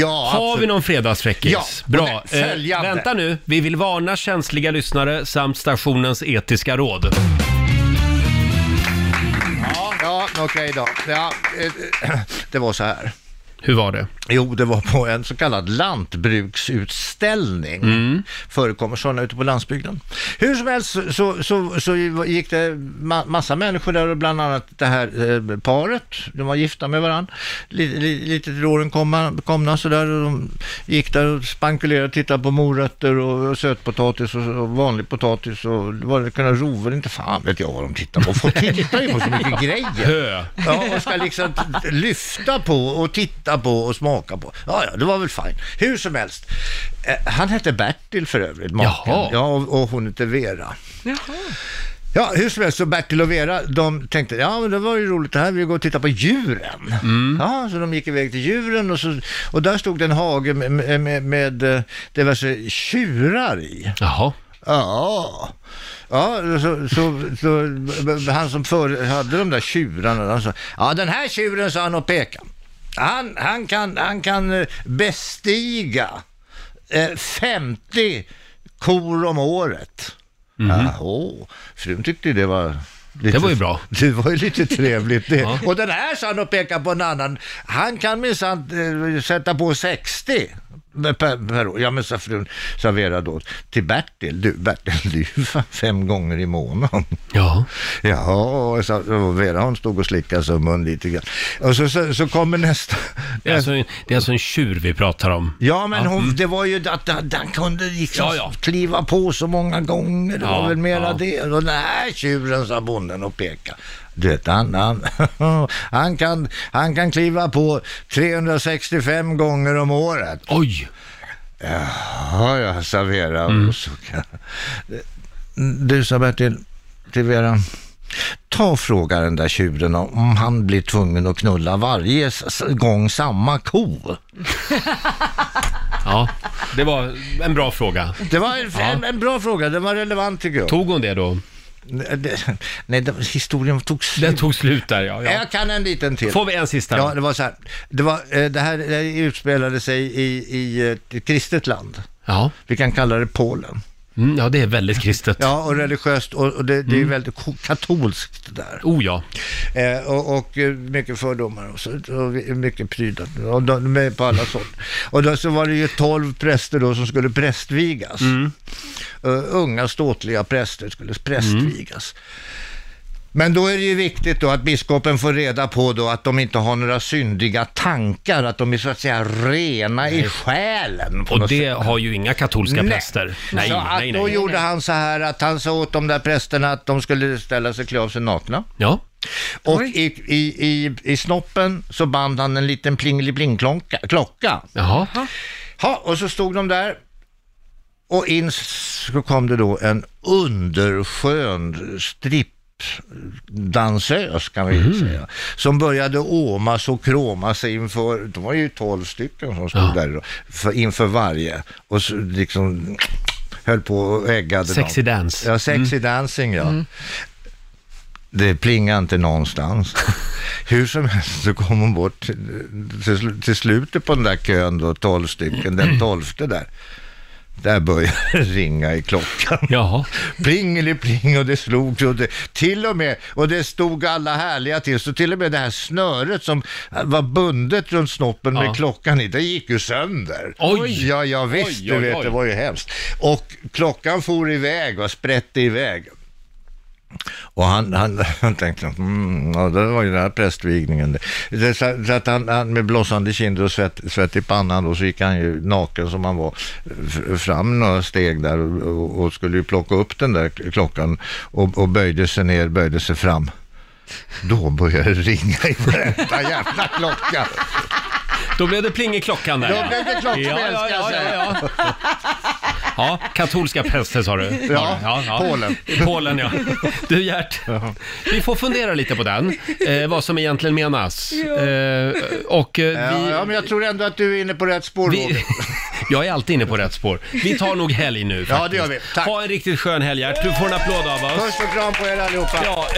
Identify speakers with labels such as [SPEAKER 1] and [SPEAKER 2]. [SPEAKER 1] Ja,
[SPEAKER 2] Har
[SPEAKER 1] absolut.
[SPEAKER 2] vi någon fredagsfräckis?
[SPEAKER 1] Ja, och
[SPEAKER 2] Bra. Eh,
[SPEAKER 1] det- följande.
[SPEAKER 2] vänta nu, vi vill varna känsliga lyssnare samt stationens etiska råd.
[SPEAKER 1] Ja, okej då. Ja, eh, det var så här.
[SPEAKER 2] Hur var det?
[SPEAKER 1] Jo, det var på en så kallad lantbruksutställning. Förekommer sådana ute på landsbygden. Hur som helst så, så, så, så gick det ma- massa människor där och bland annat det här eh, paret. De var gifta med varandra. Lite, li- lite till åren komma, komna sådär och de gick där och spankulerade och tittade på morötter och, och sötpotatis och, och vanlig potatis och vad det kunde rover, inte fan vet jag vad de tittar på. Folk tittar ju på så mycket grejer.
[SPEAKER 2] Hö.
[SPEAKER 1] Ja, och ska liksom t- lyfta på och titta på och smaka på. Ja, ja, det var väl fint. Hur som helst. Eh, han hette Bertil för övrigt, maken.
[SPEAKER 2] Jaha.
[SPEAKER 1] Ja, och, och hon hette Vera.
[SPEAKER 3] Jaha.
[SPEAKER 1] Ja, hur som helst, så Bertil och Vera, de tänkte, ja men det var ju roligt det här, vi går och tittar på djuren. Ja, så de gick iväg till djuren och, så, och där stod det en hage med, med, med, med eh, diverse tjurar i.
[SPEAKER 2] Jaha.
[SPEAKER 1] Ja, ja så, så, så, han som för, hade de där tjurarna, han sa, ja den här tjuren sa han och pekade. Han, han, kan, han kan eh, bestiga eh, 50 kor om året. Jaha, frun tyckte det var lite,
[SPEAKER 2] Mhm. Det var ju bra.
[SPEAKER 1] Det var ju lite trevligt det.
[SPEAKER 2] Ja.
[SPEAKER 1] Och den här sa han och pekade på en annan, han kan minsann eh, sätta på 60 per, per år. Ja men sa frun, sa Vera då till Bertil, du Bertil, du är fan fem gånger i månaden.
[SPEAKER 2] Ja.
[SPEAKER 1] Jaha, sa, och Vera hon stod och slickade sig om mun lite grann. Och så, så, så kommer nästa.
[SPEAKER 2] Det är, alltså en, det är alltså en tjur vi pratar om.
[SPEAKER 1] Ja, men hon, det var ju att han- han kunde liksom
[SPEAKER 2] Mm. Ja, ja.
[SPEAKER 1] kliva på så många gånger. Det
[SPEAKER 2] Ja,
[SPEAKER 1] var väl mera
[SPEAKER 2] ja.
[SPEAKER 1] det. Och den här tjuren, sa bonden och pekade. Du vet, han, han, han, kan, han kan kliva på 365 gånger om året.
[SPEAKER 2] Oj!
[SPEAKER 1] Ja, jag sa Vera
[SPEAKER 2] Mm.
[SPEAKER 1] och suckade. Du sa Bertil, till Vera. Ta och fråga den där tjuren om han blir tvungen att knulla varje s- gång samma ko.
[SPEAKER 2] Ja, det var en bra fråga.
[SPEAKER 1] Det var en, en, en bra fråga, den var relevant tycker jag.
[SPEAKER 2] Tog hon det då?
[SPEAKER 1] Nej, det- Nej, det, historien tog slut.
[SPEAKER 2] Den tog slut där ja. ja.
[SPEAKER 1] Jag kan en liten till.
[SPEAKER 2] Eh, Får vi en sista?
[SPEAKER 1] Ja,
[SPEAKER 2] då?
[SPEAKER 1] det var så här. Det, var, eh, det här eh, utspelade sig i, i eh, ett kristet land.
[SPEAKER 2] Ja.
[SPEAKER 1] Vi kan kalla det Polen.
[SPEAKER 2] Mm, ja, det är väldigt kristet.
[SPEAKER 1] Ja, och religiöst och, och det, det är ju väldigt ko- katolskt där.
[SPEAKER 2] Oh ja.
[SPEAKER 1] Eh, och, och eh, mycket fördomar och, så, och vi- mycket prydnad. Och de, de är på alla sånt. Och då så var det ju tolv präster då som skulle prästvigas.
[SPEAKER 2] Mm.
[SPEAKER 1] Eh, unga ståtliga präster skulle prästvigas.
[SPEAKER 2] Mm.
[SPEAKER 1] Men då är det ju viktigt då att biskopen får reda på då att de inte har några syndiga tankar, att de är så att säga rena i själen. på
[SPEAKER 2] Och
[SPEAKER 1] något
[SPEAKER 2] det
[SPEAKER 1] sätt.
[SPEAKER 2] har ju inga katolska
[SPEAKER 1] Nej.
[SPEAKER 2] präster. Nej,
[SPEAKER 1] så att
[SPEAKER 2] nej,
[SPEAKER 1] då
[SPEAKER 2] nej.
[SPEAKER 1] gjorde han så här att han sa åt de där prästerna att de skulle ställa sig klä av sig nakna.
[SPEAKER 2] Ja.
[SPEAKER 1] Och i, i, i, i snoppen så band han en liten plingeli-plingklocka. Klocka.
[SPEAKER 2] Jaha.
[SPEAKER 1] Ha, och så stod de där. Och in s- så kom det då en underskön strippdansös kan vi
[SPEAKER 2] Mm.
[SPEAKER 1] säga, som började åmas och kråma sig inför, de var ju tolv stycken som stod
[SPEAKER 2] Ja.
[SPEAKER 1] där då, för, inför varje och så liksom höll på och äggade dem.
[SPEAKER 2] Sexy dance. Mm.
[SPEAKER 1] Ja, sexy dancing ja. Det plingar inte någonstans. Hur som helst så kom hon bort till, till, slu- till slutet på den där kön då, tolv stycken, den tolfte där. Där började det ringa i klockan.
[SPEAKER 2] Jaha.
[SPEAKER 1] Plingeli-pling och det slog och det, till och med, och det stod alla härliga till, så till och med det här snöret som var bundet runt snoppen
[SPEAKER 2] Ja.
[SPEAKER 1] med klockan i, det gick ju sönder.
[SPEAKER 2] Oj!
[SPEAKER 1] Ja, ja visst,
[SPEAKER 2] Oj,
[SPEAKER 1] du
[SPEAKER 2] oj,
[SPEAKER 1] vet,
[SPEAKER 2] oj.
[SPEAKER 1] det var ju hemskt. Och klockan for iväg och sprätte iväg. Och han, han, han tänkte, mm, ja, det var ju den här prästvigningen. Det, så, så att han, han med blossande kinder och svett, svett i pannan då, så gick han ju naken som han var f- fram några steg där och, och, och skulle ju plocka upp den där klockan och, och böjde sig ner, böjde sig fram. Då började det ringa i varenda jävla klocka.
[SPEAKER 2] Då blev det pling i klockan där.
[SPEAKER 1] Då blev det klockspel, ska jag säga.
[SPEAKER 2] ja, ja. ja, katolska präster sa du.
[SPEAKER 1] Ja, Polen.
[SPEAKER 2] Polen ja. Du Gert, vi får fundera lite på den, eh, vad som egentligen menas.
[SPEAKER 3] Ja.
[SPEAKER 2] Eh, och eh,
[SPEAKER 1] Ja,
[SPEAKER 2] vi,
[SPEAKER 1] ja, men jag tror ändå att du är inne på rätt spår, Roger.
[SPEAKER 2] vi, jag är alltid inne på rätt spår. Vi tar nog helg nu
[SPEAKER 1] Ja,
[SPEAKER 2] faktiskt.
[SPEAKER 1] det gör vi. Tack.
[SPEAKER 2] Ha en riktigt skön helg Gert, du får en applåd av oss.
[SPEAKER 1] Puss och kram på er allihopa.
[SPEAKER 2] Ja, eh,